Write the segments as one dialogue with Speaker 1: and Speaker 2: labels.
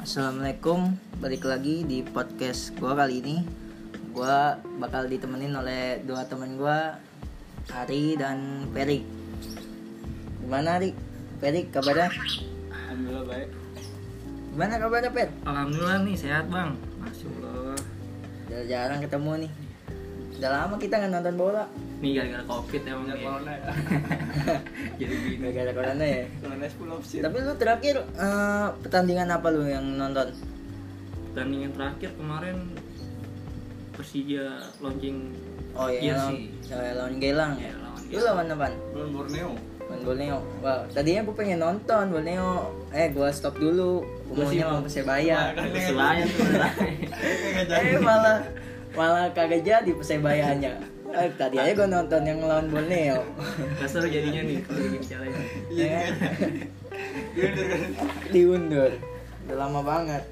Speaker 1: Assalamualaikum, balik lagi di podcast gua kali ini. Gua bakal ditemenin oleh dua teman gua, Ari dan Ferry. Gimana Ari? Ferry kabarnya?
Speaker 2: Alhamdulillah baik.
Speaker 1: Gimana kabarnya Fer?
Speaker 3: Alhamdulillah nih sehat bang Masya Allah
Speaker 1: Udah jarang ketemu nih. Udah lama kita nggak nonton bola.
Speaker 3: Nih gara-gara covid emang
Speaker 2: Sejak
Speaker 3: ya
Speaker 2: corona ya.
Speaker 3: Jadi gini
Speaker 1: Gara-gara corona ya.
Speaker 2: Corona 10 opsi.
Speaker 1: Tapi lu terakhir eh, pertandingan apa lu yang nonton?
Speaker 3: Pertandingan terakhir kemarin Persija launching
Speaker 1: Oh iya,
Speaker 3: Jersey.
Speaker 1: lawan- lawan Gelang ya.
Speaker 3: Iya, lawan
Speaker 1: Lu lawan apaan?
Speaker 2: Belum Borneo.
Speaker 1: Nonton Borneo. Wah, tadinya gue pengen nonton Borneo. Eh, gua stop dulu. Gua
Speaker 3: Gua sih
Speaker 1: maunya
Speaker 3: mau-
Speaker 1: mau Persebaya.
Speaker 2: Makan.
Speaker 3: Persebaya tuh
Speaker 2: Kagak jadi.
Speaker 1: Eh, malah malah kagak jadi Persebayanya. Eh, tadi aja gua nonton yang lawan Borneo. Ya
Speaker 3: Kasar jadinya nih kalau gini caranya
Speaker 2: Iya kan? Diundur kan.
Speaker 1: Diundur. Udah lama banget.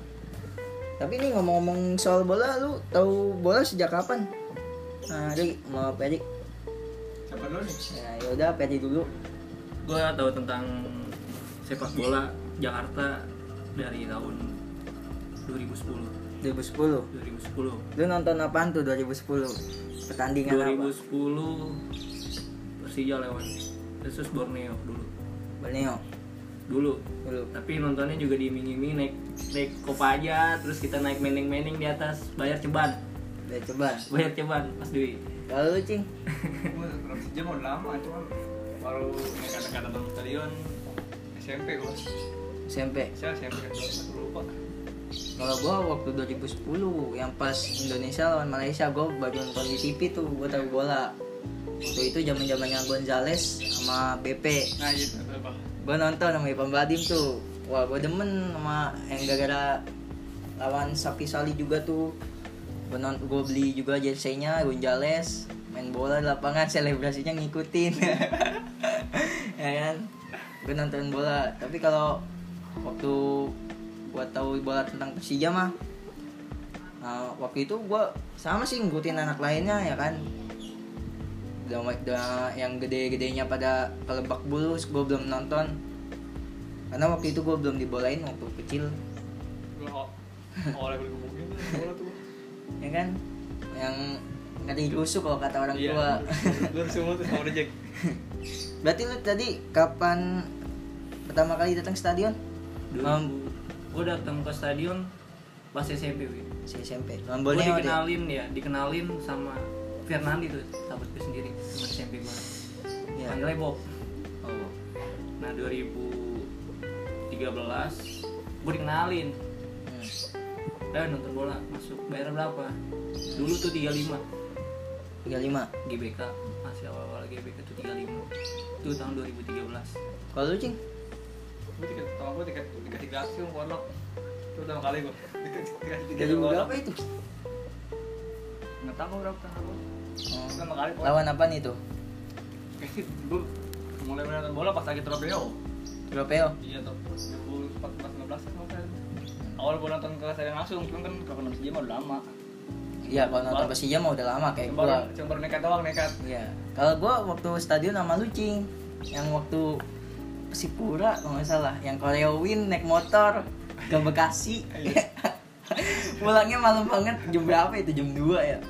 Speaker 1: Tapi nih ngomong-ngomong soal bola, lu tahu bola sejak kapan? Nah, Ri, mau Peri.
Speaker 2: Siapa dulu nih?
Speaker 1: Ya, yaudah Peri dulu.
Speaker 3: Gue tahu tentang sepak bola Jakarta dari tahun 2010
Speaker 1: 2010.
Speaker 3: 2010
Speaker 1: Lu nonton apaan tuh 2010? Pertandingan apa?
Speaker 3: 2010 Persija lawan versus Borneo dulu
Speaker 1: Borneo.
Speaker 3: dulu
Speaker 1: Dulu.
Speaker 3: tapi nontonnya juga diiming-iming naik naik kopaja terus kita naik meneng-meneng di atas bayar ceban
Speaker 1: Udah coba.
Speaker 3: bayar ceban mas Dwi
Speaker 1: Kalau lu, Cing?
Speaker 2: Gua Orang sejam udah lama cuma baru kata-kata bang stadion SMP gua.
Speaker 1: SMP.
Speaker 2: Saya SMP kelas 1 kan, lupa.
Speaker 1: Kalau gua waktu 2010 yang pas Indonesia lawan Malaysia gua baru nonton di TV tuh gua tahu bola. Waktu itu zaman-zamannya Gonzales sama BP.
Speaker 2: Nah, itu apa?
Speaker 1: Gua nonton sama Ipam Badim tuh. Wah, gua demen sama yang gara-gara lawan Sapi Sali juga tuh. Gua, non- gua beli juga jersey-nya Gonzales main bola di lapangan selebrasinya ngikutin. ya kan? Gua nonton bola, tapi kalau waktu gua tahu bola tentang Persija mah Nah, waktu itu gue sama sih ngikutin anak lainnya ya kan udah, udah yang gede-gedenya pada kelebak bulus gue belum nonton karena waktu itu gue belum dibolain waktu kecil
Speaker 2: Gua oleh beli gebukin bola tuh.
Speaker 1: ya kan yang ngeri rusuk kalau kata orang
Speaker 2: Iya,
Speaker 1: tua
Speaker 2: Lu semua tuh sama rejek.
Speaker 1: berarti lu tadi kapan pertama kali datang stadion
Speaker 3: dulu
Speaker 1: Lawan
Speaker 3: gue datang ke stadion pas SMP Wi
Speaker 1: si SMP lawan
Speaker 3: gue
Speaker 1: Borneo deh
Speaker 3: dikenalin ya dikenalin sama Fernandi tuh sahabat gue sendiri teman SMP gue
Speaker 1: Iya.
Speaker 3: panggilnya Bob
Speaker 1: oh
Speaker 3: nah 2013 gue dikenalin
Speaker 1: hmm.
Speaker 3: dan nonton bola masuk bayar berapa dulu tuh 35
Speaker 1: 35
Speaker 3: GBK masih awal-awal GBK itu 35 itu tahun 2013
Speaker 1: kalau lu cing
Speaker 2: Gua tiket pertama gua tiket tiket tiga aksi gua warlock. Itu pertama kali gua. Tiket tiga tiga
Speaker 1: jadi
Speaker 2: warlock.
Speaker 1: berapa itu
Speaker 2: Nggak tahu berapa tahun gua.
Speaker 1: Oh.
Speaker 2: Pertama kali gua
Speaker 1: lawan apa nih tuh
Speaker 2: Kayaknya dulu Eh, mulai main nonton bola pas lagi Trofeo
Speaker 1: Tropeo
Speaker 2: iya tuh 2014 15 kan waktu itu. awal gua nonton ke stadion langsung cuman kan kalau nonton sejam udah lama
Speaker 1: Iya, kalau nonton Persija mah udah lama kayak
Speaker 2: cuma
Speaker 1: Eh, gua.
Speaker 2: baru- cuma baru nekat doang nekat
Speaker 1: Iya. Kalau gua waktu stadion sama Lucing yang waktu Persipura kalau nggak salah, yang Koreo Win naik motor ke Bekasi.
Speaker 2: Iya.
Speaker 1: Pulangnya malam banget, jam berapa itu? Jam 2 ya.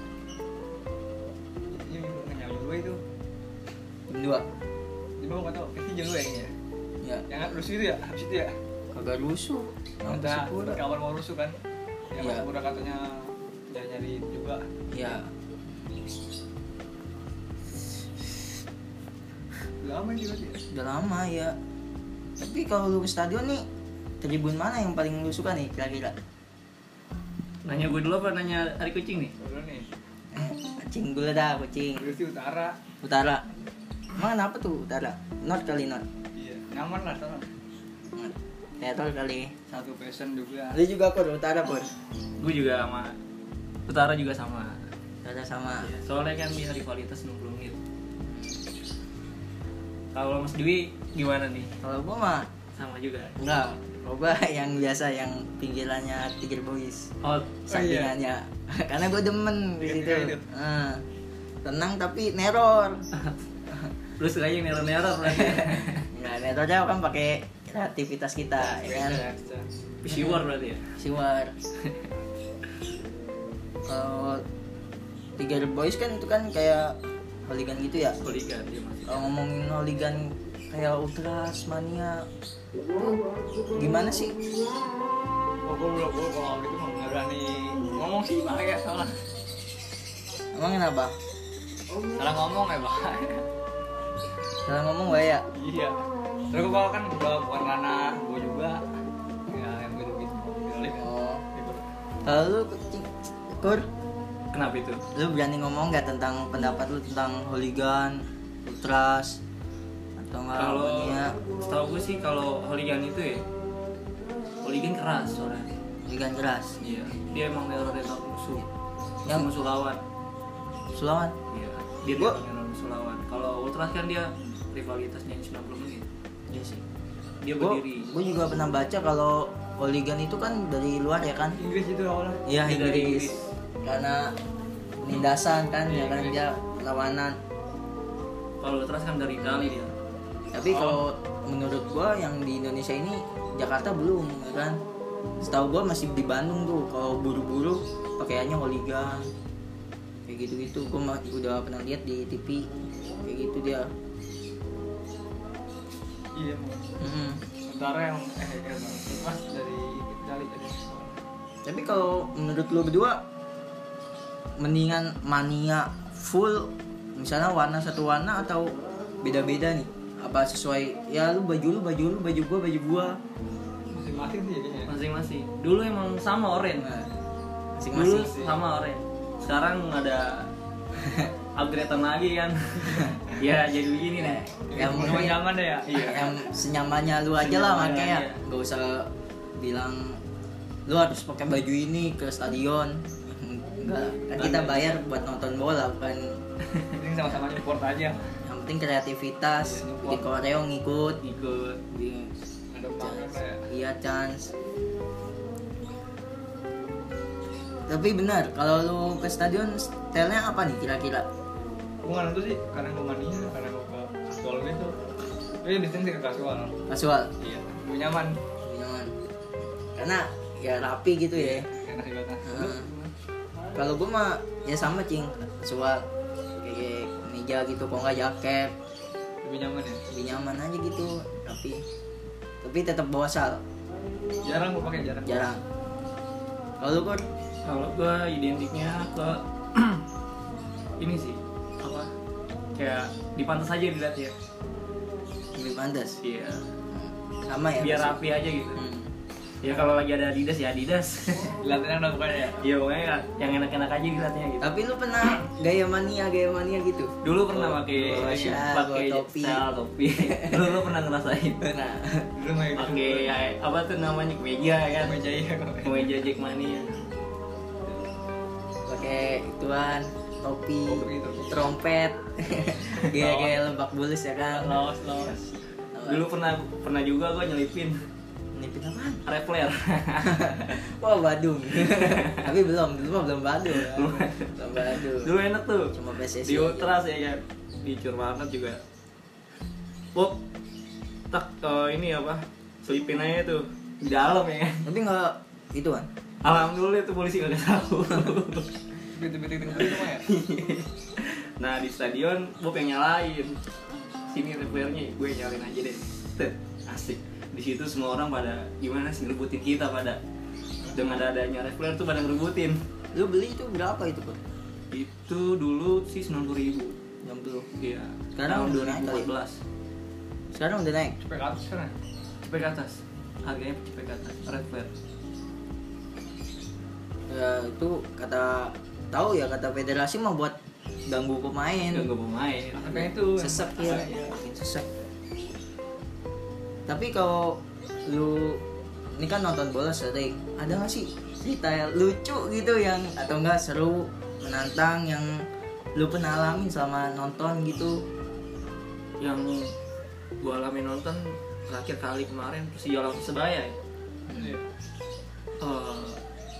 Speaker 2: ini nggak nyampe gue itu
Speaker 1: Jam 2.
Speaker 2: cuma iya. gua nggak tahu kayaknya jam dua ya kayaknya
Speaker 1: Ya,
Speaker 2: yang nggak rusuh itu ya habis itu ya
Speaker 1: kagak rusuh. Sama
Speaker 2: ada
Speaker 1: Persipura.
Speaker 2: kawan mau rusuh kan yang
Speaker 1: Iya.
Speaker 2: Persipura katanya nyari nyari juga
Speaker 1: Iya.
Speaker 2: lama sih berarti ya
Speaker 1: Udah lama ya. Tapi kalau lu ke stadion nih, tribun mana yang paling lu suka nih kira-kira?
Speaker 3: nanya gue dulu apa nanya hari kucing nih
Speaker 2: dulu nih
Speaker 1: Eh, Kucing dulu dah, kucing.
Speaker 2: Rusi utara
Speaker 1: Utara. Emang kenapa tuh utara? North kali North.
Speaker 2: iya nyaman lah sana
Speaker 1: Teror Ya, kali.
Speaker 2: satu passion juga
Speaker 1: Lu juga kur utara kur.
Speaker 3: gue juga sama utara juga sama Nah,
Speaker 1: Utara sama.
Speaker 3: soalnya kan dia rivalitas 60 menit kalau Mas Dwi gimana nih
Speaker 1: Kalau gua mah
Speaker 3: sama juga
Speaker 1: enggak. Kalau gua yang biasa yang pinggirannya Tiger Boys.
Speaker 3: oh
Speaker 1: Sampingannya. Karena gua demen di situ.
Speaker 2: Iya, iya.
Speaker 1: Eh, Tenang tapi neror.
Speaker 3: lu suka yang neror-neror berarti.
Speaker 2: Iya,
Speaker 1: Enggak nerornya kan pakai kreativitas kita ya kan.
Speaker 2: Beda, beda.
Speaker 3: Pisiwar berarti ya
Speaker 1: Siwar. Kalau tiga boys kan itu kan kayak hooligan gitu ya.
Speaker 3: Hooligan iya, dia masih
Speaker 1: Kalau ngomongin hooligan kayak ultras mania tuh gimana sih?
Speaker 2: Oh, gue belum, gue kalau gitu mah nggak berani ngomong sih bang ya salah.
Speaker 1: Emang kenapa?
Speaker 2: Salah ngomong ya bang.
Speaker 1: Salah ngomong gue ya.
Speaker 2: iya. Terus gue kan udah bukan ranah gue juga. Ya yang gitu gitu.
Speaker 1: Oh. Kalau lu kur,
Speaker 3: Kenapa itu?
Speaker 1: lu berani ngomong nggak tentang pendapat lu tentang hooligan, ultras atau nggak
Speaker 3: Kalau
Speaker 1: mania?
Speaker 3: setahu gue sih kalau hooligan itu ya Hooligan keras orangnya
Speaker 1: Hooligan keras.
Speaker 3: Iya Dia emang teror-teror musuh
Speaker 1: Yang-
Speaker 3: Yang musuh lawan
Speaker 1: Selamat.
Speaker 3: Iya Dia
Speaker 1: Gua-
Speaker 3: teror-teror musuh lawan Kalau ultras kan dia rivalitasnya 90 menit
Speaker 1: Iya sih.
Speaker 3: Dia
Speaker 1: Gue
Speaker 3: berdiri
Speaker 1: juga pernah baca kalau hooligan itu kan dari luar ya kan?
Speaker 2: Inggris itu awalnya.
Speaker 1: Iya
Speaker 3: Iya, dari Inggris.
Speaker 1: Inggris. Karena penindasan kan ya kan dia lawanan.
Speaker 3: Kalau ultras kan dari Itali dia
Speaker 1: Tapi kalau menurut gua yang di Indonesia ini Jakarta belum ya kan. Setahu gua masih di Bandung tuh kalau buru-buru pakaiannya hooligan. Kayak gitu-gitu gua ma- udah pernah lihat di TV kayak gitu dia.
Speaker 2: Iya. Bang.
Speaker 1: Mm-mm.
Speaker 2: Sementara yang eh ya, Bang. mas dari Itali tadi.
Speaker 1: Tapi kalau menurut lo berdua mendingan mania full misalnya warna satu warna atau beda-beda nih apa sesuai ya lu baju lu baju lu baju gua baju gua
Speaker 2: Masing-masing sih jadinya.
Speaker 3: Masing-masing Dulu emang sama oren
Speaker 1: Nah,
Speaker 3: Dulu
Speaker 1: masing-masing
Speaker 3: sama oren Sekarang ada upgradean lagi kan Ya jadi begini nih
Speaker 1: yang
Speaker 2: Zaman zaman deh ya. Iya.
Speaker 1: yang senyamannya lu aja lah
Speaker 3: Senyamannya,
Speaker 1: makanya
Speaker 3: iya.
Speaker 1: nggak usah bilang lu harus pakai baju ini ke stadion enggak kan kita bayar buat nonton bola bukan
Speaker 2: Penting sama-sama import aja.
Speaker 1: yang penting
Speaker 3: Iya,
Speaker 1: kreativitas bikin koreo ngikut
Speaker 3: Ikut
Speaker 1: bikin
Speaker 2: Ada banget ya.
Speaker 1: Iya chance. Tapi benar, kalau lu ke stadion stylenya apa nih kira-kira?
Speaker 2: Gue nggak nentu sih karena gue mania, karena gue ke kasual gitu. Tapi disini sih ke kasual.
Speaker 1: Kasual,
Speaker 2: Iya. Gue nyaman.
Speaker 1: nyaman. Karena ya rapi gitu ya.
Speaker 2: Enak di batas.
Speaker 1: Heeh. Kalau gua mah ya sama cing, kasual. Kayak meja gitu, kok nggak jaket,
Speaker 2: Lebih nyaman ya.
Speaker 1: lebih nyaman aja gitu, rapi. Tapi tetap bawa sal,
Speaker 2: Jarang gue pakai jarang.
Speaker 1: jarang. Kalau lu kan
Speaker 3: kalau gue identiknya ke ini sih apa kayak dipantas aja dilihat ya
Speaker 1: lebih pantas.
Speaker 3: iya
Speaker 1: Sama ya.
Speaker 3: biar
Speaker 1: pasti.
Speaker 3: rapi aja gitu
Speaker 1: Hmm.
Speaker 3: ya kalau lagi ada Adidas ya Adidas
Speaker 2: Latihan udah bukan ya.
Speaker 3: ya pokoknya yang enak-enak aja dilihatnya gitu
Speaker 1: Tapi lu pernah gaya mania, gaya mania gitu?
Speaker 3: dulu pernah
Speaker 2: Oh,
Speaker 3: pakai
Speaker 1: oh,
Speaker 3: ini,
Speaker 1: siap,
Speaker 3: pakai
Speaker 1: bawa topi.
Speaker 3: style topi dulu lo pernah ngerasain
Speaker 1: Pernah.
Speaker 2: Dulu mah gitu.
Speaker 3: pakai ya, apa tuh namanya kemeja kan
Speaker 2: Meja iya kok.
Speaker 3: kemeja ya. Jackmania
Speaker 1: Pakai ituan, topi,
Speaker 2: Topi, topi.
Speaker 1: trompet. Gaya-gaya lebak bulus ya kan.
Speaker 2: Lawas lawas.
Speaker 3: dulu pernah pernah juga gue nyelipin
Speaker 1: Nipin apaan?
Speaker 3: refler
Speaker 1: Wah, Badung. Tapi belum, dulu mah belum Badung. belum Badung.
Speaker 3: dulu enak tuh
Speaker 1: Cuma PSSI.
Speaker 3: di ultras ya kan di Curmanat juga pop tak eh, ini apa selipin aja tuh di dalam ya kan
Speaker 1: Tapi nggak itu kan.
Speaker 3: alhamdulillah tuh polisi gak tahu
Speaker 2: Betul-betul itu mah ya.
Speaker 3: nah di stadion Bob yang nyalain sini reflernya gue nyalain aja deh Tet, asik di situ semua orang pada gimana sih ngerebutin kita pada dengan adanya refler tuh pada ngerebutin
Speaker 1: Lu beli itu berapa itu, Pak?
Speaker 3: itu dulu sih 90.000 ribu
Speaker 1: 60.
Speaker 3: iya
Speaker 1: Sekarang udah
Speaker 3: tahun
Speaker 1: naik kali.
Speaker 3: 2014
Speaker 1: Sekarang udah naik.
Speaker 2: Cepet kasus kan.
Speaker 3: cepet ke atas harganya cepet ke atas red flare
Speaker 1: Ya, itu kata tahu ya kata federasi mah buat ganggu pemain.
Speaker 3: nggak pemain
Speaker 2: Makanya itu.
Speaker 1: sesek ya makin sesek tapi kalau lu ini kan nonton bola sering ada nggak sih cerita yang lucu gitu yang atau enggak seru menantang yang lu pernah alamin selama nonton gitu
Speaker 3: yang gua alami nonton terakhir kali kemarin Persija lawan Persebaya ya.
Speaker 2: Iya.
Speaker 3: Eh,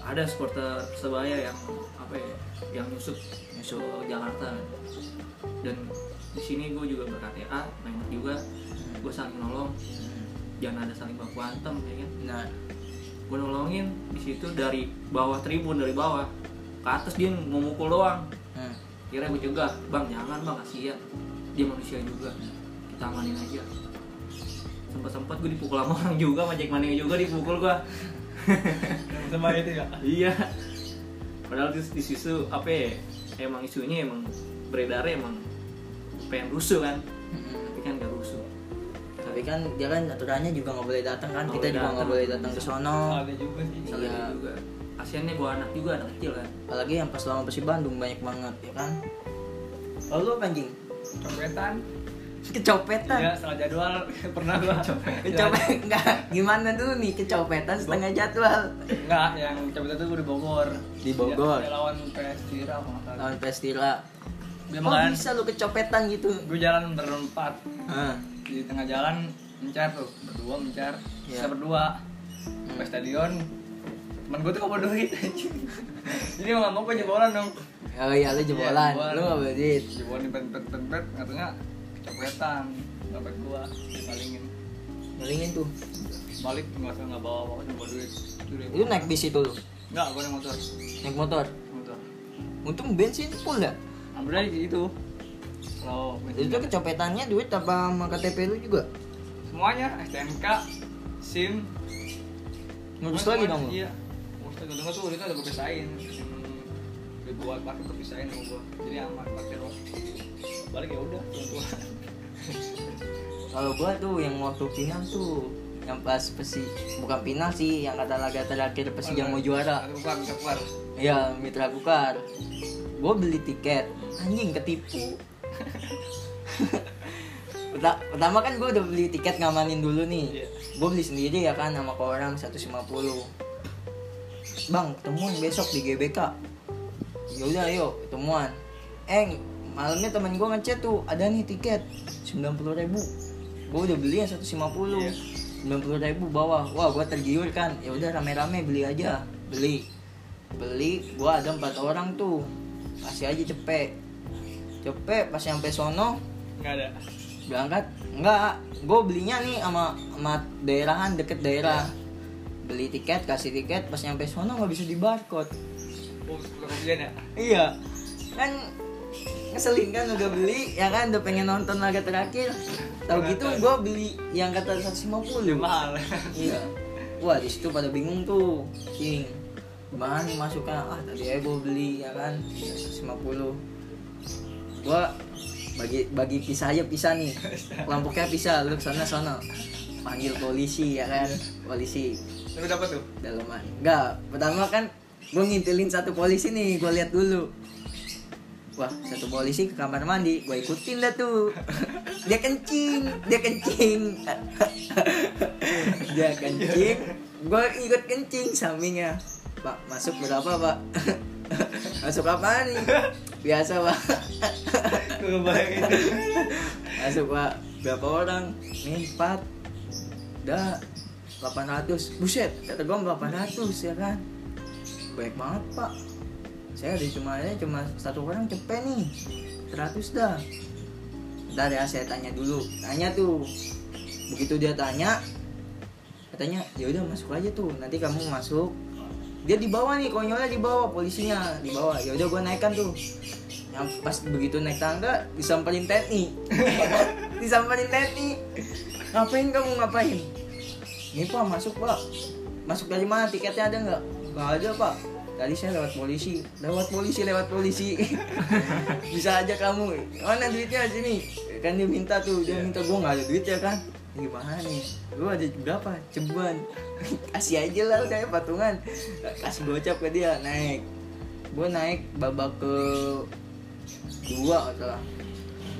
Speaker 3: ada supporter Persebaya yang apa ya yang nyusup nyusup ke Jakarta dan di sini gue juga berkata main juga gue saling nolong jangan ada saling baku antem ya kan
Speaker 1: nah
Speaker 3: gue nolongin di situ dari bawah tribun dari bawah ke atas dia mau mukul doang
Speaker 1: Hmm.
Speaker 3: kira gue juga bang jangan bang kasihan dia manusia juga kita amanin aja sempat sempat gue dipukul sama orang juga sama Jack Mania juga dipukul gue
Speaker 2: Sama itu ya.
Speaker 3: iya padahal di, di situ apa ya emang isunya emang beredar emang pengen rusuh kan
Speaker 1: Mm-mm.
Speaker 3: tapi kan gak rusuh
Speaker 1: hmm. Tapi kan dia kan aturannya juga nggak boleh datang kan.
Speaker 3: Nggak
Speaker 1: Kita
Speaker 3: boleh
Speaker 1: juga nggak
Speaker 3: datang.
Speaker 1: boleh datang ke sono.
Speaker 2: Ada juga sih.
Speaker 3: salah
Speaker 1: Iya.
Speaker 3: juga kasiannya bawa anak juga anak kecil kan
Speaker 1: Apalagi yang pas lawan Persib Bandung banyak banget ya kan. Lalu apa anjing?
Speaker 2: Copetan. Iya,
Speaker 1: Kecopetan.
Speaker 2: salah jadwal pernah gua Iya. copetan.
Speaker 1: Kecopetan enggak. Gimana dulu nih kecopetan setengah jadwal
Speaker 2: Enggak, yang copetan tuh gua di Bogor. Iya,
Speaker 1: Di Bogor? Ah.
Speaker 2: Dia, dia lawan PS Tira apa nggak salah.
Speaker 1: lawan Pestila.
Speaker 2: Dia
Speaker 1: Kok
Speaker 2: makan.
Speaker 1: bisa lu kecopetan gitu?
Speaker 2: Gua jalan berempat
Speaker 1: Hah.
Speaker 2: di tengah jalan mencar tuh berdua mencar
Speaker 1: Iya. Hmm.
Speaker 2: kita berdua ke stadion temen gue tuh gak bawa duit anjing jadi mau nggak mau gue jebolan dong
Speaker 1: Oh iya lu jebolan.
Speaker 2: jebolan.
Speaker 1: Lu nggak boleh dit.
Speaker 2: jebolan di pet pet pet pet katanya kecopetan dompet gue dipalingin
Speaker 1: Ngelingin tuh.
Speaker 2: balik nggak usah nggak bawa apa apa bawa duit
Speaker 1: Lu naik bis itu lu.
Speaker 2: nggak gue naik motor
Speaker 1: Naik motor.
Speaker 2: motor
Speaker 1: Untung bensin full ya.
Speaker 2: ambil aja di situ kalau bensin
Speaker 1: Itu kecopetannya duit apa sama KTP lu juga?
Speaker 2: semuanya STNK SIM
Speaker 1: Ngurus lagi dong lu.
Speaker 2: Iya. Ngurus lagi dong tuh itu ada gue pisahin. Yang dibuat parkir gue pisahin sama gue. Jadi aman parkir lo. Balik ya udah, yang tua.
Speaker 1: Kalau gua tuh yang waktu final tuh yang pas pesi bukan final sih yang kata laga terakhir Persija mau juara
Speaker 2: Aku keluar, bisa keluar.
Speaker 1: ya Mitra Kukar gue beli tiket anjing ketipu Peta- pertama kan gue udah beli tiket ngamanin dulu nih
Speaker 2: Iya.
Speaker 1: gue beli sendiri ya kan sama ke orang 150 bang ketemuan besok di GBK ya udah ayo ketemuan eh malamnya temen gue ngechat tuh ada nih tiket 90.000 ribu gue udah beli yang 150
Speaker 2: Iya.
Speaker 1: 90.000 ribu bawah wah gue tergiur kan ya udah rame-rame beli aja beli beli gue ada empat orang tuh kasih aja cepet cepet pas nyampe sono
Speaker 2: Enggak ada.
Speaker 1: berangkat enggak gue belinya nih sama sama daerahan deket daerah beli tiket kasih tiket pas nyampe sono nggak bisa di barcode
Speaker 2: Oh, sekolah kemudian ya.
Speaker 1: iya kan ngeselin kan udah beli ya kan udah pengen nonton laga terakhir tahu gitu gue beli yang kata 150
Speaker 2: Lebih mahal.
Speaker 1: iya wah di situ pada bingung tuh cing bahan masuknya ah tadi aja gue beli ya kan 150 gua bagi bagi pisah aja pisah nih lampoknya pisah lu sana sana panggil polisi ya kan polisi
Speaker 2: Tapi dapat tuh.
Speaker 1: dalaman enggak pertama kan gue ngintilin satu polisi nih gue lihat dulu wah satu polisi ke kamar mandi gue ikutin dah tuh dia kencing dia kencing dia kencing gue ikut kencing sampingnya pak masuk berapa pak masuk apa nih biasa pak
Speaker 2: Gue ngebayangin.
Speaker 1: masuk pak berapa orang nih empat udah 800 buset kata gue 800 ya kan baik banget pak saya ada cuma ada cuma satu orang cepet nih 100 dah Ntar ya saya tanya dulu tanya tuh begitu dia tanya katanya ya udah masuk aja tuh nanti kamu masuk dia di bawah nih konyolnya di bawah polisinya di bawah ya udah gue naikkan tuh yang pas begitu naik tangga disamperin Teti disamperin Teti ngapain kamu ngapain ini pak masuk pak masuk dari mana tiketnya ada nggak nggak ada pak tadi saya lewat polisi lewat polisi lewat polisi bisa aja kamu mana duitnya sini kan dia minta tuh dia minta gue nggak ada duit ya kan gimana nih lu ada berapa ceban kasih aja lah udah ya patungan kasih gocap ke dia naik gue naik babak ke dua atau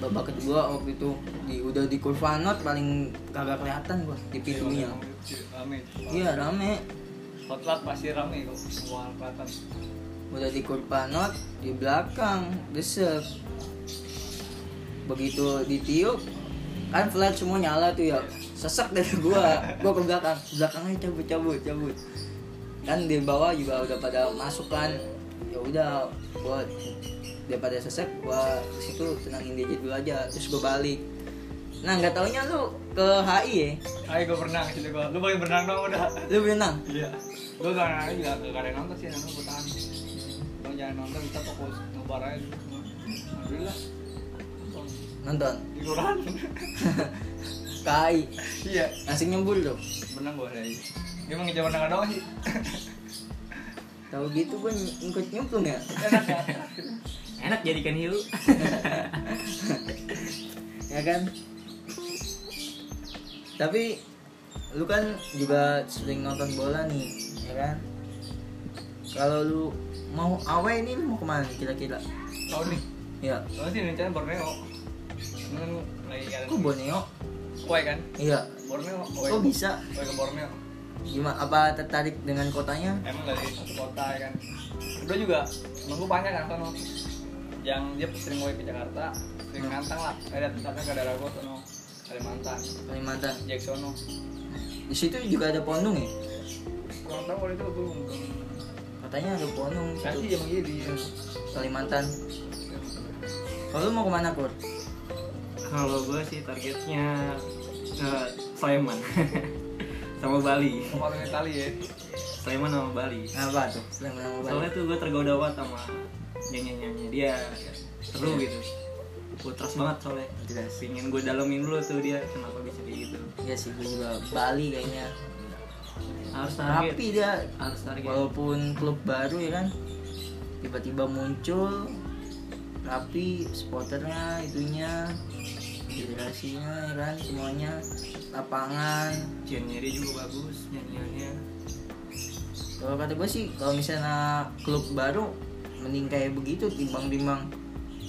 Speaker 1: babak kedua waktu itu di udah di Kurvanot paling kagak kelihatan gua di pintunya
Speaker 2: Iya, Rame.
Speaker 1: iya rame
Speaker 2: Hotlat pasti rame kok. Semua kelihatan.
Speaker 1: udah di Kurpanot di belakang desek begitu ditiup kan flat semua nyala tuh ya sesek dari gua gua ke belakang Ke belakang aja cabut cabut cabut kan di bawah juga udah pada masuk kan ya udah gua daripada sesek gua ke situ tenangin diri dulu aja terus gua balik Nah nggak taunya lu ke HI ya?
Speaker 2: Ayo gue berenang sini gue. Lu paling berenang dong udah.
Speaker 1: Lu berenang?
Speaker 2: Iya. Gue gak nanya juga gak ada yang nonton sih, nonton gue tahan. Lo jangan nonton kita fokus nobar aja. dulu semua. Alhamdulillah. Nonton.
Speaker 1: Nonton
Speaker 2: Di koran.
Speaker 1: ke HI.
Speaker 2: Iya.
Speaker 1: Langsung nyembur lu.
Speaker 2: Berenang gue hari. Dia mau ngejar berenang doang sih.
Speaker 1: Tahu gitu gue ikut nyemplung ya.
Speaker 2: Enak ya.
Speaker 3: enak jadikan hiu
Speaker 1: ya kan? Tapi lu kan juga sering nonton bola nih, ya kan? Kalau lu mau away nih lu mau kemana nih kira-kira?
Speaker 2: Tahun nih.
Speaker 1: Ya,
Speaker 2: Tahun sih rencana Borneo. Cuman lagi ada.
Speaker 1: kok Borneo?
Speaker 2: Kuai kan?
Speaker 1: Iya.
Speaker 2: Borneo. Kuai.
Speaker 1: Kok bisa?
Speaker 2: Kuai ke Borneo.
Speaker 1: Gimana? Apa tertarik dengan kotanya?
Speaker 2: emang dari satu kota ya kan kedua juga temen gue banyak kan sono yang dia sering mau ke Jakarta sering
Speaker 1: Hmm.
Speaker 2: ngantang lah ada tempatnya ke daerah gue sono Kalimantan
Speaker 1: Kalimantan.
Speaker 2: Jacksono
Speaker 1: Di situ juga ada pondong ya?
Speaker 2: kurang tahu kalau itu gue belum
Speaker 1: Katanya ada pondong di
Speaker 2: nanti
Speaker 1: situ.
Speaker 2: emang iya di
Speaker 1: Kalimantan. Kalau lu mau kemana kur?
Speaker 3: kalau gue sih targetnya ke Sleman sama Bali
Speaker 2: Kemarin Itali ya
Speaker 3: Sleman sama Bali
Speaker 1: Apa tuh? Sleman sama Bali.
Speaker 3: soalnya tuh gue tergoda banget sama nyanyi nyanyi dia seru gitu gue trust banget soalnya
Speaker 1: Jelas.
Speaker 3: pingin gue dalemin dulu tuh dia kenapa bisa kayak gitu
Speaker 1: Iya sih, gue juga Bali kayaknya.
Speaker 3: harus target
Speaker 1: Rapi dia.
Speaker 3: harus target
Speaker 1: Walaupun klub baru ya kan, tiba-tiba muncul rapi supporternya itunya federasinya ya kan semuanya lapangan
Speaker 3: Gennya dia juga bagus nyanyiannya
Speaker 1: kalau kata gue sih kalau misalnya klub baru mending kayak begitu timbang-timbang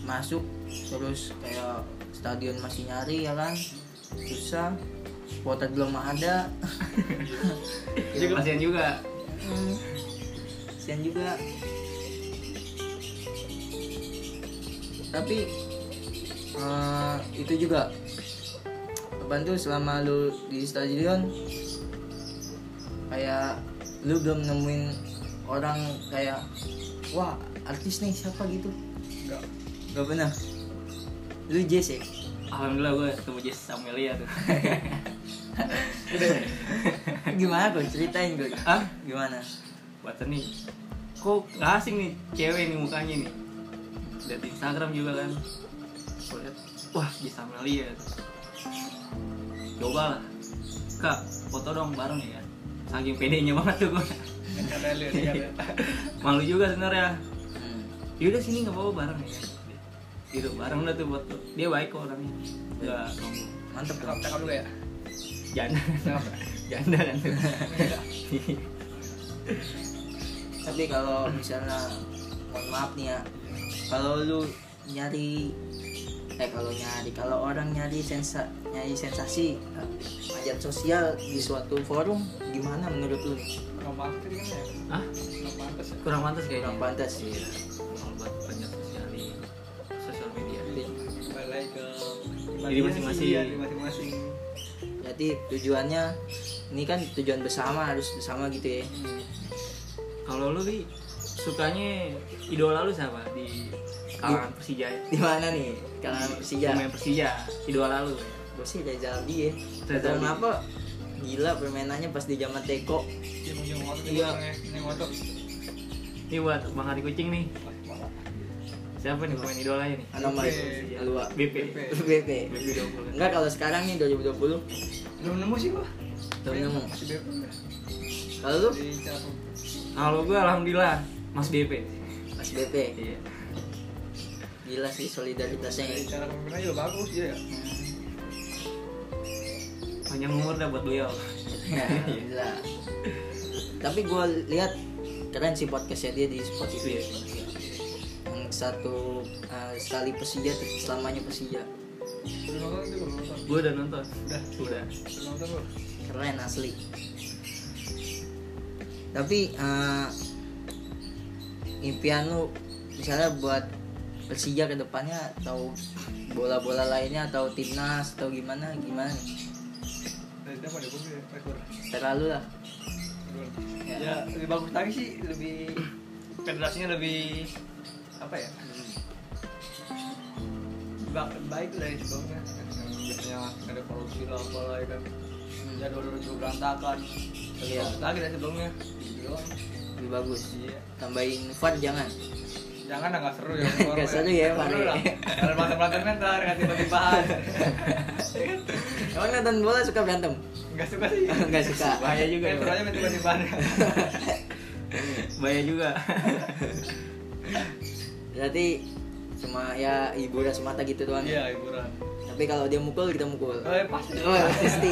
Speaker 1: masuk terus kayak stadion masih nyari ya kan susah kuota belum ada
Speaker 3: kasihan juga
Speaker 1: Hmm. kasihan juga tapi eh, itu juga apaan tuh selama lu di stadion kayak lu belum nemuin orang kayak wah artis nih siapa gitu
Speaker 2: enggak
Speaker 1: gak pernah lu Jesse
Speaker 3: alhamdulillah gue ketemu Jess Samelia tuh
Speaker 1: gimana kok ceritain gue
Speaker 3: ah
Speaker 1: gimana
Speaker 3: Buatan nih Kok nggak asing nih cewek nih mukanya nih Lihat di Instagram juga kan Gua liat, Wah bisa lihat Coba lah Kak foto dong bareng ya kan Saking pedenya banget tuh gue
Speaker 2: ada lu ada lu
Speaker 3: Malu juga sebenarnya
Speaker 1: Hmm.
Speaker 3: Yaudah sini nggak apa-apa bareng ya kan Gitu bareng udah tuh foto Dia baik kok orangnya Gak sombong
Speaker 1: mantep
Speaker 2: cakap
Speaker 1: dong
Speaker 2: cakap dulu ya
Speaker 3: Janda
Speaker 2: cakap
Speaker 3: Janda kan tuh
Speaker 1: tapi kalau misalnya mohon maaf nih ya kalau lu nyari eh kalau nyari kalau orang nyari sensa nyari sensasi eh, ajang sosial di suatu forum gimana menurut lu
Speaker 2: nggak pantas kan ya
Speaker 3: Hah?
Speaker 2: nggak pantas ya
Speaker 3: Kurang pantas kayaknya
Speaker 1: kurang pantas sih
Speaker 3: Iya, kurang buat banyak sekali sosial media.
Speaker 2: balik lagi ke
Speaker 3: Diri masing-masing.
Speaker 2: Iya, diri masing-masing
Speaker 1: jadi tujuannya ini kan tujuan bersama harus bersama gitu ya
Speaker 3: Kalau lu Li, sukanya idola lu siapa di kalangan Persija? ya?
Speaker 1: di mana nih kalau Persija
Speaker 3: Pemain Persija, idola lu. ya?
Speaker 1: gue sih Reza Aldi ya
Speaker 3: Reza
Speaker 1: Reza
Speaker 3: Aldi.
Speaker 1: kenapa gila permainannya pas di zaman Teko
Speaker 2: dia mau jual motor
Speaker 1: Iya.
Speaker 2: dia mau motor
Speaker 3: Ini buat Bang Hari Kucing nih.
Speaker 2: Wah, parah.
Speaker 3: Siapa nih pemain idolanya nih? Iya.
Speaker 1: anomali
Speaker 2: BP.
Speaker 1: Alua
Speaker 3: BP.
Speaker 1: BP
Speaker 3: BP 20.
Speaker 1: enggak kalau sekarang nih 2020
Speaker 2: belum nemu sih gua
Speaker 1: belum nemu
Speaker 2: masih bebas ya.
Speaker 1: kalau lu
Speaker 2: di Cakung.
Speaker 3: Kalau gua alhamdulillah Mas BP.
Speaker 1: Mas BP
Speaker 3: Iya.
Speaker 1: gila sih
Speaker 2: Dari
Speaker 1: solidaritasnya
Speaker 2: cara pemimpinnya juga bagus ya.
Speaker 3: Panjang umur dah buat beliau.
Speaker 1: Ya, gila tapi gue lihat keren sih podcastnya dia di Spotify
Speaker 3: Iya.
Speaker 1: yang satu eh, sekali Persija terus selamanya Persija
Speaker 2: Belum nonton itu belum nonton.
Speaker 3: Gua udah nonton.
Speaker 2: Udah,
Speaker 3: Udah.
Speaker 2: belum nonton lu.
Speaker 1: keren asli tapi eh, impian lu misalnya buat Persija ke depannya atau bola-bola lainnya atau timnas atau gimana gimana nih?
Speaker 2: Dari siapa dia gue rekor.
Speaker 1: terlalu lah
Speaker 2: Ya. lebih bagus lagi sih, lebih federasinya lebih apa ya? Ba baik lah dari ya sebelumnya. ya ada korupsi lah apalah ya kan jadwal dulu juga berantakan
Speaker 1: Iya.
Speaker 2: iya. lagi dari sebelumnya Gitu Gila.
Speaker 1: lebih bagus
Speaker 2: Iya.
Speaker 1: tambahin fun jangan
Speaker 2: jangan lah nggak seru ya
Speaker 1: Nggak seru ya, Pak.
Speaker 2: seru lah ada berantem berantemnya kan ntar nggak tiba tibaan
Speaker 1: emang nonton bola suka berantem
Speaker 2: nggak suka sih
Speaker 1: nggak suka Iya.
Speaker 3: bahaya juga
Speaker 2: ya
Speaker 3: ya,
Speaker 2: serunya tiba tibaan
Speaker 3: bahaya juga
Speaker 1: berarti cuma ya hiburan semata gitu doang
Speaker 2: iya hiburan
Speaker 1: tapi kalau dia mukul kita mukul
Speaker 2: Oh, ya pasti.
Speaker 1: Oh, ya pasti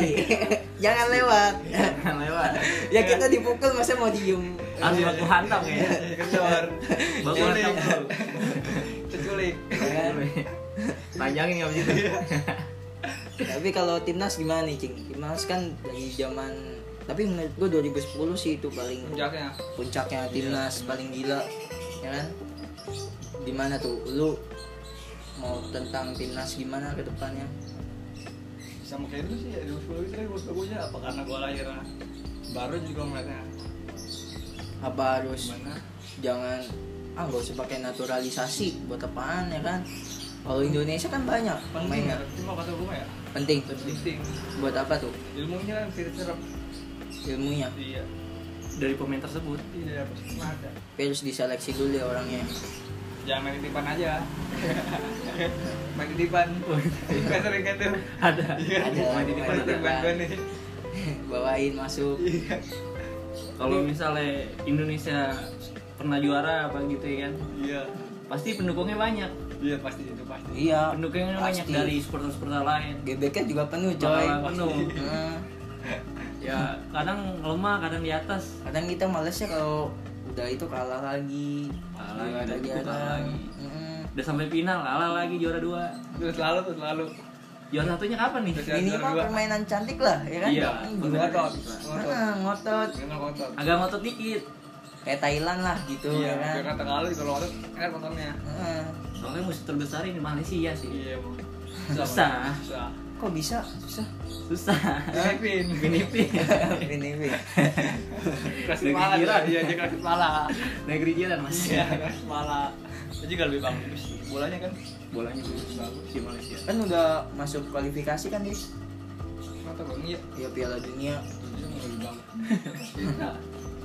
Speaker 1: jangan lewat
Speaker 3: jangan lewat
Speaker 1: ya
Speaker 2: Iya.
Speaker 1: kita dipukul masa mau diem
Speaker 3: harus baku hantam ya
Speaker 2: kejar
Speaker 3: Bagus,
Speaker 2: culik
Speaker 3: bagus.
Speaker 2: Diculik.
Speaker 1: Kan?
Speaker 3: panjangin gitu. nggak begitu
Speaker 1: tapi kalau timnas gimana nih cing timnas kan dari zaman tapi menurut gua 2010 sih itu paling
Speaker 2: puncaknya
Speaker 1: puncaknya
Speaker 2: Iya.
Speaker 1: timnas paling gila ya kan gimana tuh lu mau tentang timnas gimana ke depannya
Speaker 2: sama kayak itu sih ya di usul itu kan gue bagusnya apa karena gue lahir baru juga ngeliatnya
Speaker 1: apa harus
Speaker 2: gimana
Speaker 1: jangan ah nggak usah pakai naturalisasi buat apaan ya kan kalau Indonesia kan banyak
Speaker 2: penting ya
Speaker 1: pemainnya
Speaker 2: cuma kata gue mah ya
Speaker 1: penting
Speaker 2: penting
Speaker 1: buat apa tuh
Speaker 2: ilmunya kan sirip serap
Speaker 1: ilmunya
Speaker 2: iya
Speaker 3: dari pemain tersebut
Speaker 2: tidak dapat semua ada
Speaker 1: Tapi harus diseleksi dulu ya orangnya
Speaker 2: jangan main titipan aja main titipan gak sering kan tuh
Speaker 3: ada
Speaker 2: Iya.
Speaker 1: Ada,
Speaker 2: main titipan
Speaker 1: main
Speaker 2: titipan
Speaker 1: titipan.
Speaker 2: gue nih
Speaker 1: bawain masuk
Speaker 2: iya
Speaker 3: kalau misalnya Indonesia pernah juara apa gitu ya kan
Speaker 2: iya
Speaker 3: pasti pendukungnya banyak
Speaker 2: iya pasti itu pasti
Speaker 1: iya
Speaker 3: pendukungnya banyak
Speaker 1: pasti.
Speaker 3: dari supporter-supporter lain
Speaker 1: GBK juga penuh coy
Speaker 3: Malah penuh
Speaker 1: Nah,
Speaker 3: ya kadang lemah kadang di atas
Speaker 1: kadang kita males ya kalau udah itu kalah lagi
Speaker 3: Kalah
Speaker 1: Juara
Speaker 3: lagi, udah itu kalah
Speaker 1: jarang.
Speaker 3: lagi.
Speaker 1: Mm-mm.
Speaker 3: udah sampai final kalah lagi juara dua
Speaker 2: terus selalu terus selalu
Speaker 3: juara satunya kapan nih
Speaker 2: Terus- Juara
Speaker 1: minimal
Speaker 2: dua.
Speaker 1: permainan cantik lah ya kan
Speaker 3: Iya,
Speaker 1: Mm,
Speaker 3: bener.
Speaker 1: juara.
Speaker 2: ngotot ngotot
Speaker 1: Ah, ngotot
Speaker 2: Jangan ngotot
Speaker 3: agak ngotot dikit
Speaker 1: kayak Thailand lah gitu
Speaker 2: iya
Speaker 1: ya
Speaker 2: biar
Speaker 1: kan
Speaker 2: kata kalau kalau ngotot kan enak nontonnya
Speaker 1: Heeh.
Speaker 3: soalnya musuh terbesar ini Malaysia sih
Speaker 2: Iya, Bang.
Speaker 3: Susah.
Speaker 2: Bang. Susah.
Speaker 1: kok bisa susah
Speaker 3: susah
Speaker 2: Filipin.
Speaker 3: Filipina
Speaker 1: ini
Speaker 2: Kelas
Speaker 3: Negeri
Speaker 2: kepala.
Speaker 3: jiran.
Speaker 2: Iya, dia kelas kepala.
Speaker 3: negeri jiran mas
Speaker 2: Iya, kelas kepala. Itu juga lebih bagus. Bolanya kan
Speaker 3: bolanya bagus bagus di Malaysia
Speaker 1: kan udah masuk kualifikasi kan dis
Speaker 2: mata Bang iya.
Speaker 1: ya Piala Dunia
Speaker 2: Dia mau lebih bagus. Kita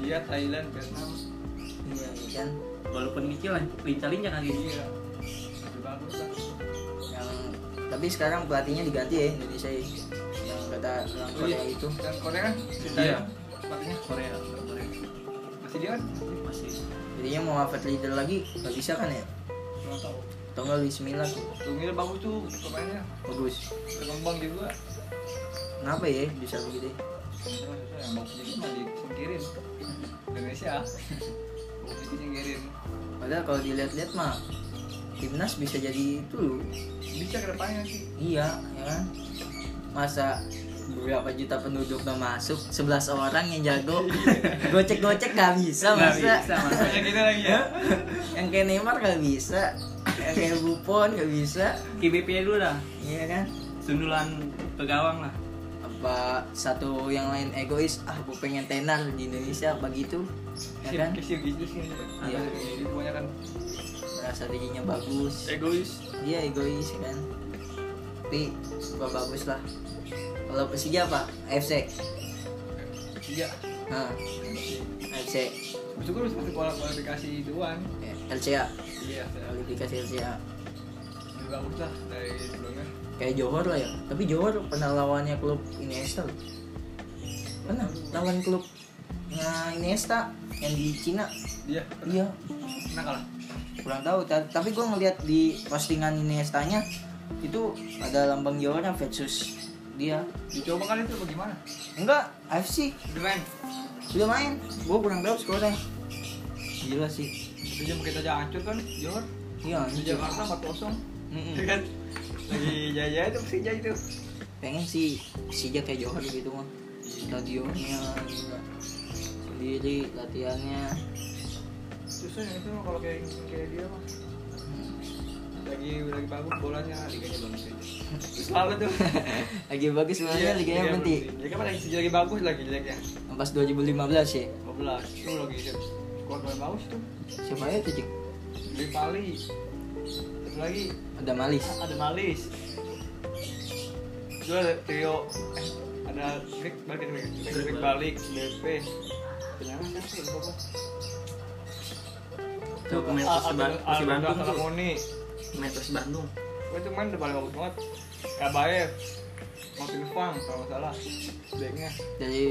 Speaker 2: dia Thailand, Vietnam.
Speaker 1: iya kan
Speaker 3: walaupun kecil lah lincah-lincah kali ini
Speaker 2: Iya. Oh, Lebih bagus kan. lah.
Speaker 1: yang tapi sekarang pelatihnya diganti ya Indonesia ya. yang kata orang
Speaker 2: Oh, iya.
Speaker 1: Korea itu
Speaker 2: Dan Korea kan kita
Speaker 3: Iya.
Speaker 2: ya. Sepatunya
Speaker 3: Korea Korea
Speaker 2: masih dia kan?
Speaker 3: masih
Speaker 1: jadinya mau Harvard leader lagi nggak bisa kan ya
Speaker 2: Enggak tahu.
Speaker 1: atau nggak Bismillah
Speaker 2: Tunggu bagus tuh pemainnya.
Speaker 1: bagus
Speaker 2: Berkembang juga.
Speaker 1: kenapa ya bisa begitu ya?
Speaker 2: yang bagus juga mah disingkirin. Indonesia. Bagus disingkirin.
Speaker 1: padahal kalau dilihat-lihat mah timnas bisa jadi itu loh.
Speaker 2: Bisa ke depannya sih.
Speaker 1: iya ya kan masa berapa juta penduduk udah masuk 11 orang yang jago gocek-gocek gak bisa
Speaker 3: Nggak
Speaker 1: masa
Speaker 3: bisa, Mas.
Speaker 2: Banyak kita lagi ya.
Speaker 1: yang kayak Neymar gak bisa yang kayak Buffon gak bisa
Speaker 3: KBP nya dulu dah
Speaker 1: iya kan
Speaker 3: sundulan ke gawang lah
Speaker 1: apa satu yang lain egois ah gue pengen tenar di Indonesia begitu ya kan
Speaker 2: Kisir kisir sih.
Speaker 1: Iya.
Speaker 2: Iya. Jadi pokoknya kan
Speaker 1: merasa dirinya bagus
Speaker 2: egois.
Speaker 1: dia egois ya kan tapi gua bagus lah kalau Persija apa FC
Speaker 2: Iya.
Speaker 1: nah FC
Speaker 2: Bersyukur bisa masuk kual- kualifikasi duluan.
Speaker 1: eh, LCA
Speaker 2: Iya.
Speaker 1: kualifikasi LCA
Speaker 2: Lebih bagus lah dari sebelumnya.
Speaker 1: kayak Johor lah ya tapi Johor pernah lawannya klub Iniesta loh. pernah lawan klub nah Iniesta yang di Cina
Speaker 2: Dia
Speaker 1: iya
Speaker 2: menang Nah, kalah.
Speaker 1: kurang tahu ta- tapi gue ngeliat di postingan Iniesta-nya itu ada lambang Johornya versus dia
Speaker 2: Dicoba kan itu bagaimana?
Speaker 1: enggak AFC
Speaker 2: Keren.
Speaker 1: udah main gue kurang tahu skornya gila sih
Speaker 2: Itu jam kita aja hancur kan, Johor.
Speaker 1: iya
Speaker 2: Di
Speaker 1: anjir.
Speaker 2: Jakarta 4-0.
Speaker 1: Mm-mm.
Speaker 2: Iya kan? Lagi jaya itu pasti jaya itu.
Speaker 1: pengen sih Persija kayak Johor gitu mah stadionnya juga sendiri latihannya
Speaker 2: Susah ya itu mah kalau kayak kayak dia mah lagi lagi bagus bolanya liganya bagus aja selalu tuh
Speaker 1: Iya, lagi bagus
Speaker 2: Iya,
Speaker 1: sebenarnya liganya berhenti
Speaker 2: ya kan lagi lagi bagus lagi ya. jeleknya
Speaker 1: pas 2015 ya
Speaker 2: 12 itu lagi itu kuat main bagus tuh
Speaker 1: siapa ya tuh Cik?
Speaker 2: di Pali satu lagi
Speaker 1: ada Malis
Speaker 2: ada Malis gue ada trio eh, ada trik balik trik trik trik balik DP kenapa sih lupa gue
Speaker 3: Tuh, pemain
Speaker 2: Ah,
Speaker 3: Persi Ba- Persi Bandung tuh.
Speaker 2: Moni
Speaker 3: Pemain Persi Bandung.
Speaker 2: gue itu main udah paling bagus banget Kabaev Martin Fang kalau nggak salah backnya
Speaker 1: dari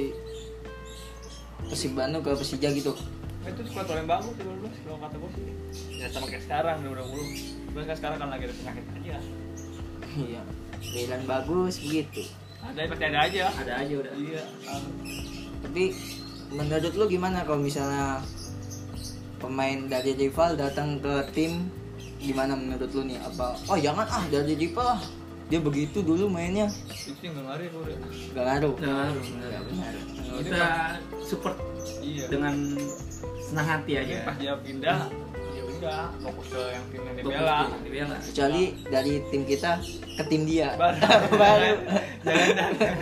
Speaker 1: Persib Bandung ke Persija gitu
Speaker 2: itu squad paling bagus di 2012 kalau kata gue sih ya sama kayak sekarang 2020 gue kan sekarang kan lagi ada penyakit aja
Speaker 1: iya Milan bagus gitu. begitu
Speaker 2: ada pasti ada aja
Speaker 3: Ada aja udah.
Speaker 2: iya ah.
Speaker 1: tapi menurut lu gimana kalau misalnya pemain dari rival datang ke tim gimana menurut lu nih apa oh jangan ah dari rival ah dia begitu dulu mainnya
Speaker 2: itu yang nggak ya, lari gue udah
Speaker 1: gak ngaruh
Speaker 3: Benar,
Speaker 1: Gak
Speaker 3: benar.
Speaker 1: benar
Speaker 3: Kita support
Speaker 2: iya
Speaker 3: dengan senang hati aja.
Speaker 2: Mungkin pas dia pindah ya udah fokus ke yang tim yang dibela
Speaker 3: Fokus Iya. di Bella.
Speaker 1: kecuali dari tim kita ke tim dia
Speaker 2: baru
Speaker 1: baru
Speaker 2: jangan jangan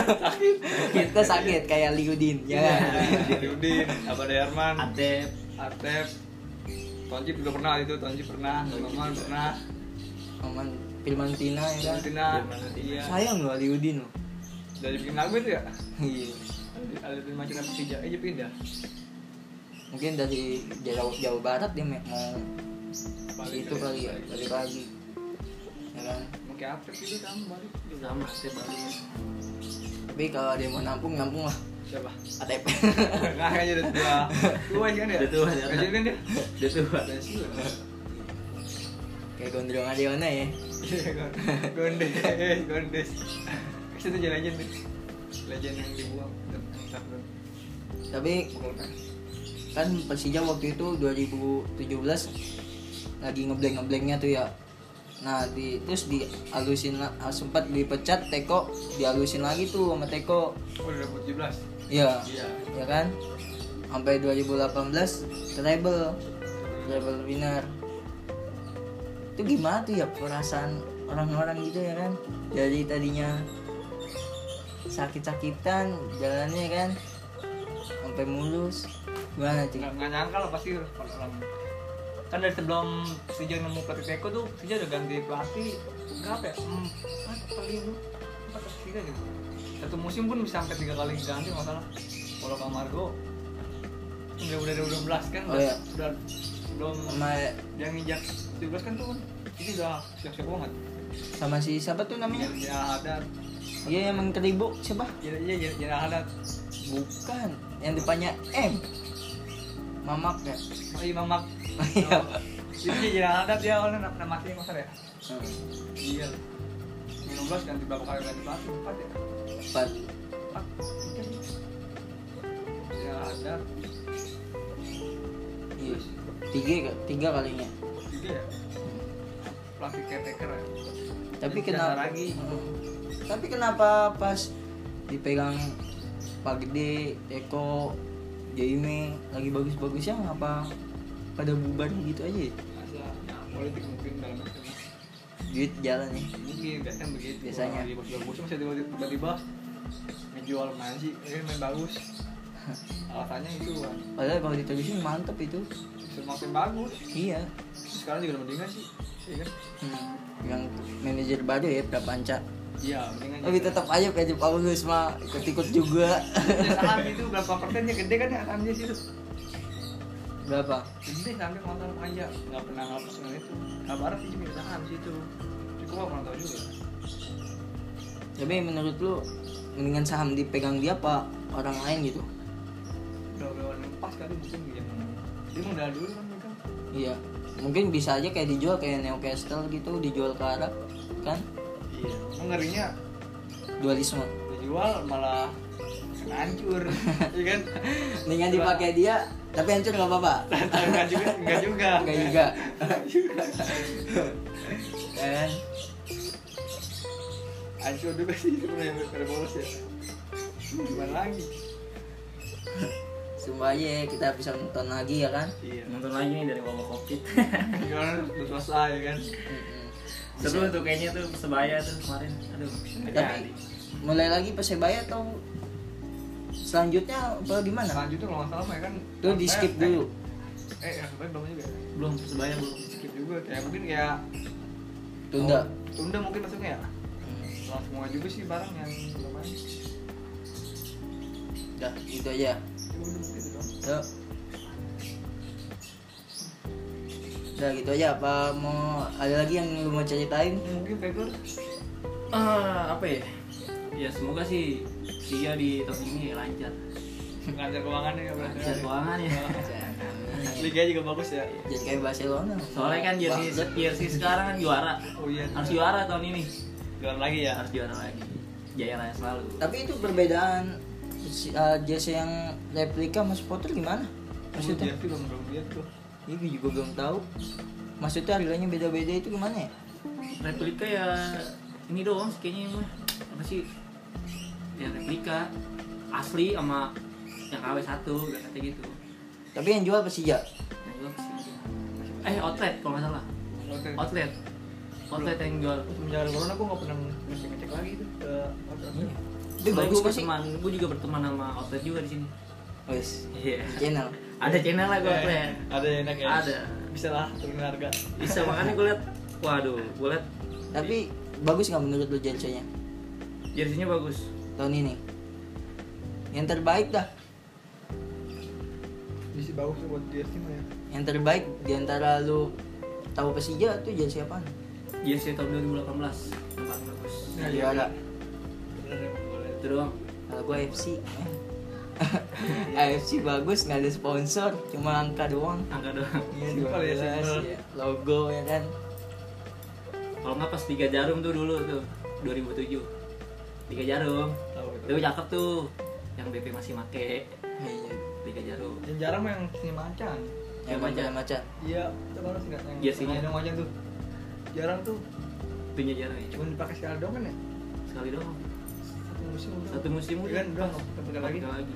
Speaker 2: sakit
Speaker 1: kita sakit kayak Liudin ya kan?
Speaker 3: Iya.
Speaker 1: jangan
Speaker 2: Yudin apa Derman
Speaker 3: Atep.
Speaker 2: Atep Tonji juga pernah itu Tonji pernah Maman pernah
Speaker 1: Aman Filmantina ya kan
Speaker 2: Tina iya
Speaker 1: sayang loh Liudin loh
Speaker 2: dari bikin lagu itu ya
Speaker 1: Iya.
Speaker 2: ada tim macam Persija aja pindah
Speaker 1: mungkin dari jauh Jawa Barat dia mau
Speaker 2: Balik
Speaker 1: itu
Speaker 2: ke-
Speaker 1: kali ya balik
Speaker 2: balik.
Speaker 1: lagi ya kan
Speaker 2: mau kayak Atep gitu kan balik
Speaker 3: Sama Atep Bali.
Speaker 1: tapi kalau dia mau nampung nampung lah
Speaker 2: siapa
Speaker 1: ATP
Speaker 2: nggak kayaknya udah tua tua sih kan ya
Speaker 3: Udah tua, ya.
Speaker 2: Kayaknya kan dia
Speaker 3: Dia tuh
Speaker 2: pensiun
Speaker 1: kayak gondrong Adiona ya
Speaker 2: Iya, gondes eh, gondes itu tuh legend tuh legend yang dibuang Bentar, bentar.
Speaker 1: tapi
Speaker 2: Pukul kan.
Speaker 1: kan Persija waktu itu 2017 lagi ngeblank ngeblanknya tuh ya nah di terus dialusin la- ah, sempat dipecat Teko dialusin lagi tuh sama Teko
Speaker 2: oh udah 17
Speaker 1: ya
Speaker 2: iya
Speaker 1: ya kan sampai 2018 treble treble winner itu gimana tuh ya perasaan orang-orang gitu ya kan dari tadinya sakit-sakitan jalannya kan sampai mulus gimana
Speaker 2: nggak
Speaker 1: tuh
Speaker 2: nggak nyangka lah pasti kalau orang kan dari sebelum Persija nemu pelatih Teko tuh Persija udah ganti pelatih berapa ya? empat kali empat atau tiga gitu satu musim pun bisa sampai tiga kali ganti nggak salah kalau Kamargo udah udah udah 12 kan
Speaker 1: Oh,
Speaker 2: udah,
Speaker 1: iya.
Speaker 2: udah belum
Speaker 1: sama
Speaker 2: dia nginjak 17 kan tuh kan ini udah siap-siap banget
Speaker 1: sama si siapa tuh namanya
Speaker 2: ya ada
Speaker 1: dia yang mengkeribu siapa
Speaker 2: ya ya ya ya ada
Speaker 1: bukan yang depannya M mamak ya
Speaker 2: oh iya mamak
Speaker 1: Iya.
Speaker 2: jadi ya ada dia awalnya nama mati yang ya
Speaker 1: Hmm,
Speaker 2: iya 19 ganti berapa kali ganti pelatih empat ya
Speaker 1: empat
Speaker 2: empat tiga ya ada
Speaker 1: iya. tiga tiga kalinya
Speaker 2: tiga ya pelatih caretaker ya
Speaker 1: tapi
Speaker 2: Dan
Speaker 1: kenapa
Speaker 2: biasa lagi.
Speaker 1: Hmm. tapi kenapa pas dipegang Pak Gede, Eko, Jaime lagi bagus-bagusnya ngapa pada bubar gitu aja ya?
Speaker 2: masa politik mungkin dalam itu
Speaker 1: duit jalan ya
Speaker 2: mungkin biasanya begitu
Speaker 1: Biasanya.
Speaker 2: Orang lagi bagus masih tiba-tiba- tiba-tiba ngejual main sih ini main bagus alasannya itu kan
Speaker 1: padahal kalau diterusin mantep itu
Speaker 2: semakin bagus
Speaker 1: iya
Speaker 2: sekarang juga udah mendingan sih iya kan
Speaker 1: Hmm. yang manajer baru ya Prapanca
Speaker 2: iya mendingan
Speaker 1: tapi tetap aja Pedro Paulus mah ikut-ikut juga
Speaker 2: Ya, saham itu berapa persennya gede kan ya sahamnya sih itu
Speaker 1: berapa
Speaker 2: gede sahamnya kalau nggak salah aja nggak pernah ngelapas dengan itu kabar sih cuma saham sih itu cukup gua kurang tahu juga
Speaker 1: tapi menurut lu mendingan saham dipegang dia apa orang lain gitu
Speaker 2: udah udah udah pas kali mungkin dia dia mau dari dulu kan dia kan
Speaker 1: Iya, mungkin bisa aja kayak dijual kayak Newcastle gitu, dijual ke Arab, kan?
Speaker 2: iya mengerinya
Speaker 1: Dualisme.
Speaker 2: dijual malah kena hancur iya kan
Speaker 1: Dengan dipakai dia, tapi hancur nggak apa-apa.
Speaker 2: enggak juga enggak juga
Speaker 1: Enggak juga. Ya kan?
Speaker 2: hancur juga sih sebenarnya pada bolos ya gimana lagi
Speaker 1: Sumpah aja ya, kita bisa nonton lagi ya kan?
Speaker 2: iya
Speaker 3: Nonton lagi nih dari wabah covid.
Speaker 2: gimana Iya, udah selesai ya kan
Speaker 1: Mm-mm.
Speaker 3: Seru tuh kayaknya tuh sebaya tuh kemarin. Aduh. nggak jadi.
Speaker 1: Tapi mulai lagi persebaya atau selanjutnya apa gimana?
Speaker 2: Nah, selanjutnya kalau nggak salah ya kan
Speaker 1: Itu di skip
Speaker 2: eh,
Speaker 1: dulu.
Speaker 2: eh yang kemarin belum juga ya?
Speaker 3: belum sebaya belum.
Speaker 2: skip juga kayak mungkin kayak
Speaker 1: Tunda. Hmm.
Speaker 2: tunda mungkin maksudnya ya mahal semua juga sih barang yang lumayan
Speaker 1: Udah, gitu aja.
Speaker 2: udah gitu doang
Speaker 1: Yuk. Udah gitu aja apa mau ada lagi yang lu mau ceritain?
Speaker 2: mungkin Pegor
Speaker 3: Ah, apa ya? Ya semoga sih dia di tahun ini lancar.
Speaker 2: ngajar keuangannya ya berarti
Speaker 3: Lancar keuangan ya.
Speaker 2: Liga juga bagus ya
Speaker 1: Jadi kayak Barcelona.
Speaker 3: Soalnya kan jersey
Speaker 1: Bangsat.
Speaker 3: jersey sekarang kan juara.
Speaker 2: oh iya
Speaker 3: Harus juara tahun ini.
Speaker 2: juara lagi ya
Speaker 3: Harus juara lagi. Jaya raya selalu.
Speaker 1: Tapi itu perbedaan si- uh, jersey yang replika Mas Potter gimana?
Speaker 2: maksudnya
Speaker 1: Maksudnya?
Speaker 2: Jeff juga menurut dia tuh
Speaker 1: Ini Iya, gue juga belum tahu. Maksudnya harganya beda-beda itu gimana ya?
Speaker 3: Replika ya ini doang sih kayaknya mah. Apa sih? Ya replika asli sama yang KW 1 katanya gitu.
Speaker 1: Tapi yang jual Persija.
Speaker 3: Yang jual sih. Eh outlet kalau nggak salah.
Speaker 2: Waktu itu-
Speaker 3: Outlet. Outlet yang jual.
Speaker 2: semenjak ada corona gue nggak pernah ngecek ngecek lagi tuh ke
Speaker 3: Iya.
Speaker 1: Itu
Speaker 3: Soalnya
Speaker 1: bagus
Speaker 3: gue
Speaker 1: gak sih?
Speaker 3: berteman, gue juga berteman sama outlet juga di sini.
Speaker 1: Wes,
Speaker 3: Iya.
Speaker 1: di channel.
Speaker 3: Ada channel lah gue
Speaker 2: Iya.
Speaker 3: outlet.
Speaker 2: Eh, ada yang enak ya
Speaker 3: Ada.
Speaker 2: bisa lah turunin harga
Speaker 3: Bisa makanya gue liat. Waduh, gue liat
Speaker 1: Tapi bagus nggak menurut lu jersey-nya
Speaker 3: jersinya bagus.
Speaker 1: tahun ini? Yang terbaik dah.
Speaker 2: bisa bagus tuh buat dia sih mah ya
Speaker 1: Yang terbaik di antara lu tahu Persija tuh jersey apaan?
Speaker 3: Jersi tahun 2018 yang paling bagus.
Speaker 1: Yang juara.
Speaker 3: Iya,
Speaker 2: bener ya boleh
Speaker 3: Itu doang.
Speaker 1: Kalau gua AFC. eh. AFC bagus nggak ada sponsor, cuma angka doang.
Speaker 3: Angka doang.
Speaker 2: Iya, simpel ya,
Speaker 1: 12,
Speaker 2: simpel.
Speaker 1: ya. Logo ya kan.
Speaker 3: Kalau nggak pas tiga jarum tuh dulu tuh 2007. Tiga jarum.
Speaker 2: tahu gitu
Speaker 3: Itu cakep tuh. Yang BP masih make
Speaker 1: Iya.
Speaker 3: tiga jarum.
Speaker 2: yang jarang mah yang punya macan
Speaker 1: Yang
Speaker 3: Macan.
Speaker 1: macam macam.
Speaker 2: iya itu baru sih nggak yang
Speaker 3: Jersinya.
Speaker 2: yang macan tuh jarang tuh
Speaker 3: Punya jarum ya.
Speaker 2: cuma dipakai sekali doang kan ya
Speaker 3: Sekali doang.
Speaker 2: satu musim udah
Speaker 3: Satu musim
Speaker 2: Iya
Speaker 3: udah.
Speaker 2: kan udah nggak pakai lagi
Speaker 3: Nggak lagi.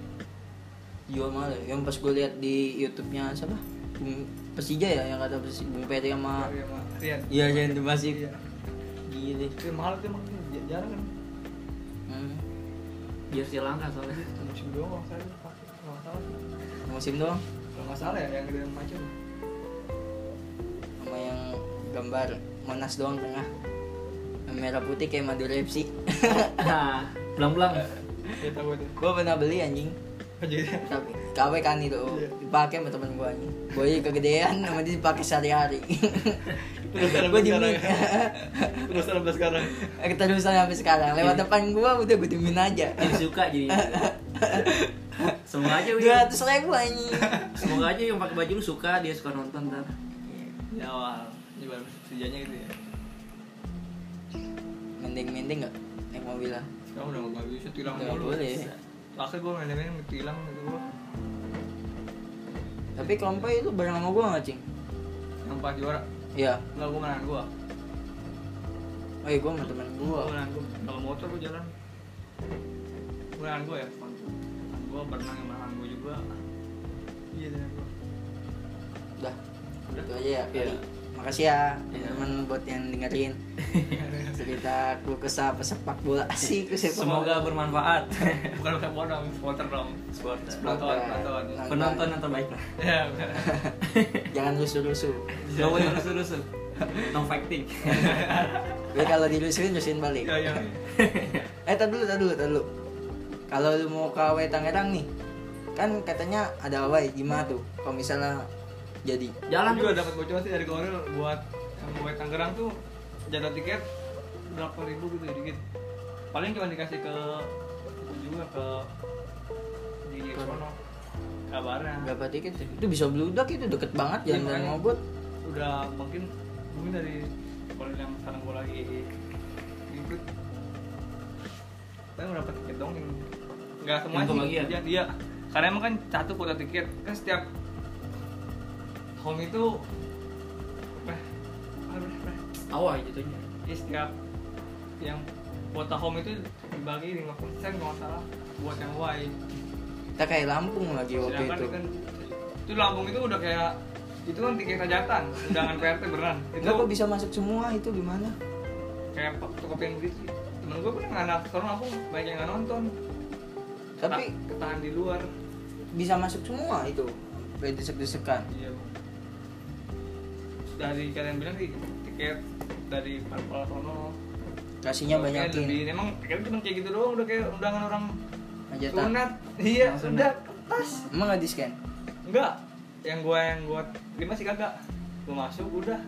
Speaker 1: Jual mahal. ya. Yang pas gue lihat di YouTube-nya siapa? Bung Persija ya yang kata Persi- Bung Peri sama
Speaker 2: Iya, sama Rian
Speaker 1: Iya, yang itu masih
Speaker 2: iya
Speaker 1: gile.
Speaker 2: itu yang mahal tuh emang j- jarang kan
Speaker 1: Hmm.
Speaker 3: Jersi langka soalnya.
Speaker 2: satu musim doang kalau saya pakai kalau nggak salah sih.
Speaker 1: Musim doang
Speaker 2: kalau nggak salah ya yang gede yang macan
Speaker 1: sama yang gambar Monas doang tengah. Yang merah putih kayak Madura FC.
Speaker 3: Nah, belang-belang.
Speaker 2: ya tahu itu
Speaker 1: gue pernah beli anjing
Speaker 2: jadi
Speaker 1: tapi KW kan itu
Speaker 2: Iya.
Speaker 1: dipakai sama temen gue anjing boy kegedean sama dia dipakai sehari-hari
Speaker 2: terus terang
Speaker 1: Gua
Speaker 2: sampai sekarang
Speaker 1: diemin.
Speaker 2: terus terang sampai sekarang
Speaker 1: kita dulu sampai sekarang lewat depan gue udah gue diemin aja
Speaker 3: Jadi suka jadi. Semoga aja
Speaker 1: dua
Speaker 3: Win.
Speaker 1: ratus ribu anjing
Speaker 3: Semoga aja yang pakai baju lu suka, dia suka nonton ntar.
Speaker 2: di awal di baru sejanya gitu ya
Speaker 1: mending-mending nggak naik mobil lah
Speaker 2: sekarang udah nggak bisa tilang
Speaker 1: Nggak
Speaker 2: mulu
Speaker 1: boleh.
Speaker 2: akhir gue ngadain tilang gitu gue
Speaker 1: tapi kelompok itu bareng sama gue nggak cing
Speaker 2: yang pas juara
Speaker 1: iya
Speaker 2: nggak gue menang gue
Speaker 1: oh iya gue sama temen gue
Speaker 2: gue menang gue kalau motor gue jalan gue menang gue ya menang gue berenang yang menang gue juga iya dengan gue
Speaker 1: udah
Speaker 2: Udah.
Speaker 1: itu aja ya kali.
Speaker 3: Iya.
Speaker 1: makasih ya
Speaker 3: Iya.
Speaker 1: teman-teman buat yang dengerin
Speaker 2: Iya.
Speaker 1: cerita aku kesah pesepak bola asik kesah
Speaker 3: Semoga bermanfaat.
Speaker 2: bukan pakai bola dong supporter dong
Speaker 3: Supporter.
Speaker 2: penonton penonton
Speaker 3: Penonton yang terbaik lah.
Speaker 2: ya benar
Speaker 1: jangan rusuh-rusuh
Speaker 3: Gak boleh rusuh-rusuh. No fighting.
Speaker 1: gue kalau dirusuhin rusuhin balik
Speaker 2: ya ya
Speaker 1: Eh, tar dulu, tar dulu, tar dulu. Kalau lu mau ke AW Tangerang nih, kan katanya ada AW, gimana tuh? Kalau misalnya jadi.
Speaker 3: Jalan
Speaker 2: juga
Speaker 3: terus.
Speaker 2: dapat bocoran sih dari Goril buat yang buat Tangerang tuh jatah tiket berapa ribu gitu dikit paling cuma dikasih ke juga ke di sono kabarnya
Speaker 1: Berapa tiket? sih? Itu bisa beludak itu deket banget jalan dari
Speaker 2: Iya, makanya.
Speaker 1: Mogot.
Speaker 2: udah mungkin mungkin dari kalau yang sekarang gue lagi ribut tapi udah dapat tiket dong yang nggak semua
Speaker 3: Yang
Speaker 2: sih
Speaker 3: kebagian.
Speaker 2: iya iya. karena emang kan satu kuota tiket kan setiap home itu eh, apa, apa,
Speaker 3: Awal jatuhnya.
Speaker 2: ya setiap yang kuota home itu dibagi 5% kalau nggak salah buat yang wide
Speaker 1: Kita kayak Lampung lagi waktu
Speaker 2: sedangkan
Speaker 1: itu.
Speaker 2: kan itu Lampung itu udah kayak itu kan tiket hajatan undangan PRT beneran itu
Speaker 1: Enggak kok bisa masuk semua itu gimana?
Speaker 2: kayak pak toko pengen gitu temen gue pun yang anak sekarang aku banyak yang nggak nonton
Speaker 1: Tapi
Speaker 2: Keta- ketahan di luar
Speaker 1: bisa masuk semua itu. Sampai desek-desekan.
Speaker 2: iya dari kalian bilang sih tiket dari parpol sono
Speaker 1: kasihnya
Speaker 2: Oke,
Speaker 1: banyakin
Speaker 2: lebih- Emang PKL cuma kayak gitu doang udah kayak undangan orang
Speaker 1: aja tak
Speaker 2: sunat. Iya,
Speaker 3: Orang sunat.
Speaker 2: udah kertas.
Speaker 1: emang nggak di scan
Speaker 2: Enggak. Yang gua yang gua terima sih kagak. Gua masuk udah.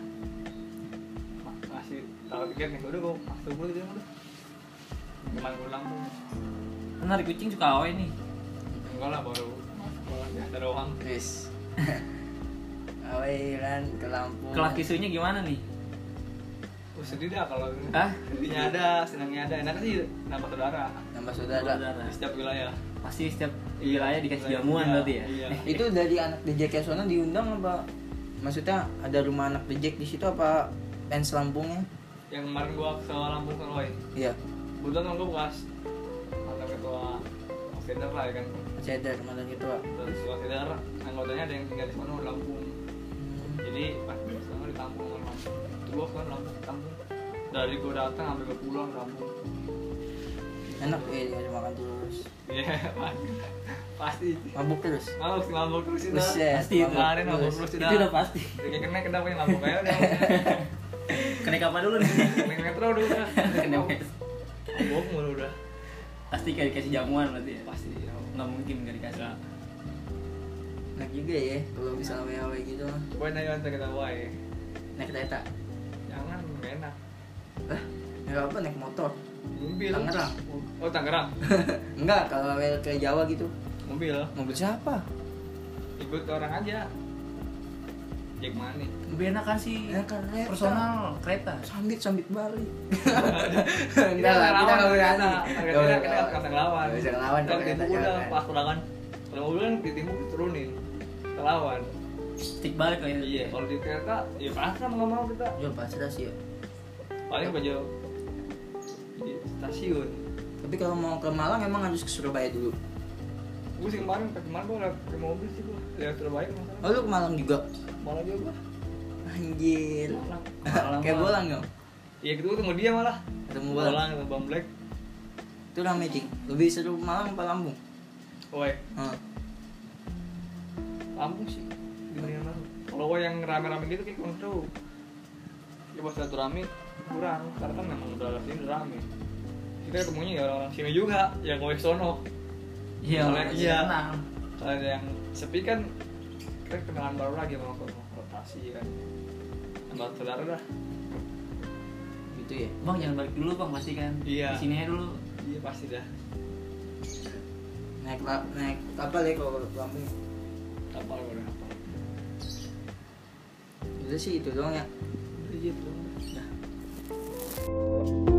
Speaker 2: Ma- Masih tahu tiket nih. Udah gua masuk dulu dia udah. Cuman gua langsung.
Speaker 4: Menarik kucing suka awal ini.
Speaker 2: Enggak lah baru masuk doang, biasa doang.
Speaker 1: Wis. Awe kan ke Lampung.
Speaker 4: Kelak isunya gimana nih?
Speaker 2: Gua sedih dah kalau
Speaker 4: Hah?
Speaker 2: sedihnya ada, senangnya ada. Enak sih nambah saudara
Speaker 1: Nambah saudara.
Speaker 4: Saudara.
Speaker 2: di setiap wilayah.
Speaker 4: Pasti setiap wilayah dikasih jamuan
Speaker 2: Iya,
Speaker 4: berarti ya.
Speaker 2: Iya.
Speaker 1: Itu dari anak DJ Kesona diundang apa? Maksudnya ada rumah anak DJ di situ apa fans Lampungnya?
Speaker 2: Yang kemarin gua ke Lampung ke Roy.
Speaker 1: Iya.
Speaker 2: Kebetulan temen gue bekas mantan ketua Offender lah ya kan
Speaker 1: Cedar mantan ketua.
Speaker 2: Terus Offender anggotanya ada yang tinggal di sana di Lampung
Speaker 1: Hmm.
Speaker 2: Jadi pas di sana di Lampung orang Lampung Itu gue kan Lampung di Lampung Dari gue datang sampai gue pulang di Lampung
Speaker 1: Enak eh dia makan terus.
Speaker 2: Iya pasti
Speaker 1: Mabuk terus.
Speaker 2: Mabuk sih Oh, mabuk terus itu
Speaker 1: Buset,
Speaker 2: Pasti itu
Speaker 1: mabuk
Speaker 2: Kemarin mabuk
Speaker 1: terus.
Speaker 2: terus
Speaker 4: Itu udah pasti.
Speaker 2: Udah kayak kena kena punya mabuk aja udah
Speaker 4: Kenaik apa dulu nih?
Speaker 2: Kena metro udah udah
Speaker 4: Kena wes.
Speaker 2: Mabuk mulu udah
Speaker 4: Pasti kayak dikasih jamuan berarti ya.
Speaker 2: Pasti
Speaker 3: iya.
Speaker 2: ya.
Speaker 4: Nggak mungkin nggak dikasih.
Speaker 2: Nggak.
Speaker 1: Enak juga ya kalau bisa awe gitu mah.
Speaker 2: Gue nanya antar kita wae
Speaker 1: Naik kereta.
Speaker 2: ya. Jangan nggak enak
Speaker 1: Eh, enggak apa naik motor.
Speaker 2: Mobil
Speaker 1: Tangerang.
Speaker 2: Oh Tangerang
Speaker 1: Enggak, kalau awe ke Jawa gitu.
Speaker 2: Mobil
Speaker 1: Mobil siapa?
Speaker 2: ikut orang aja Jack Money
Speaker 4: Lebih enak kan sih
Speaker 1: Enak kan, kereta.
Speaker 4: personal kereta.
Speaker 1: Sambit sambit Bali.
Speaker 2: kita
Speaker 1: Enggak lah,
Speaker 2: nggak
Speaker 1: kita
Speaker 2: lawan
Speaker 1: nggak berani.
Speaker 2: kita kita kita kita nggak bisa ngelawan
Speaker 1: Nggak bisa ngelawan,
Speaker 2: Ntar
Speaker 1: kalau
Speaker 2: ditimbuk
Speaker 1: kita
Speaker 2: udah
Speaker 1: jangan.
Speaker 2: pas ulangan kalau mobil kan ditimbuk diturunin kelawan
Speaker 4: Stick balik kayak
Speaker 2: iya kalau di kereta ya pasrah mau nggak mau kita
Speaker 1: Ya pasrah sih ya.
Speaker 2: paling baju di stasiun
Speaker 1: Tapi kalau mau ke Malang emang harus ke Surabaya dulu.
Speaker 2: gue sih kemarin pas kemarin gue liat ke mobil sih gue liat Surabaya
Speaker 1: Oh lu ke Malang juga?
Speaker 2: malah juga gue
Speaker 1: Anjir.
Speaker 2: Malang.
Speaker 1: Kayak
Speaker 2: Malang.
Speaker 1: bolang dong.
Speaker 2: iya gitu ketemu dia malah
Speaker 1: Ketemu bolang.
Speaker 2: bolang ketemu Bang Black
Speaker 1: Itu rame cing. Lebih seru Malang apa Lampung? Nah,
Speaker 2: woi
Speaker 1: Hah.
Speaker 2: Lampung sih dibandingkan Bandung. Kalau gue yang rame-rame gitu kayak kurang seru. Ya buat satu rame kurang karena kan memang udah sini udah rame. Kita ketemunya ya orang-orang sini juga yang gue sono.
Speaker 4: Iya,
Speaker 2: Soalnya
Speaker 4: masih
Speaker 2: iya.
Speaker 4: tenang.
Speaker 2: Kalau ada yang sepi kan kita kenalan baru lagi sama orang rotasi kan. Sama saudara dah.
Speaker 1: Gitu ya.
Speaker 4: Bang jangan balik dulu bang pasti kan.
Speaker 2: Iya.
Speaker 4: Di sini aja dulu.
Speaker 2: Iya pasti dah.
Speaker 1: Naik la- naik apa le kalau ke Lampung?
Speaker 2: Kapal gue udah kapal.
Speaker 1: Itu sih itu doang ya.
Speaker 2: Iya tuh.
Speaker 1: Dah.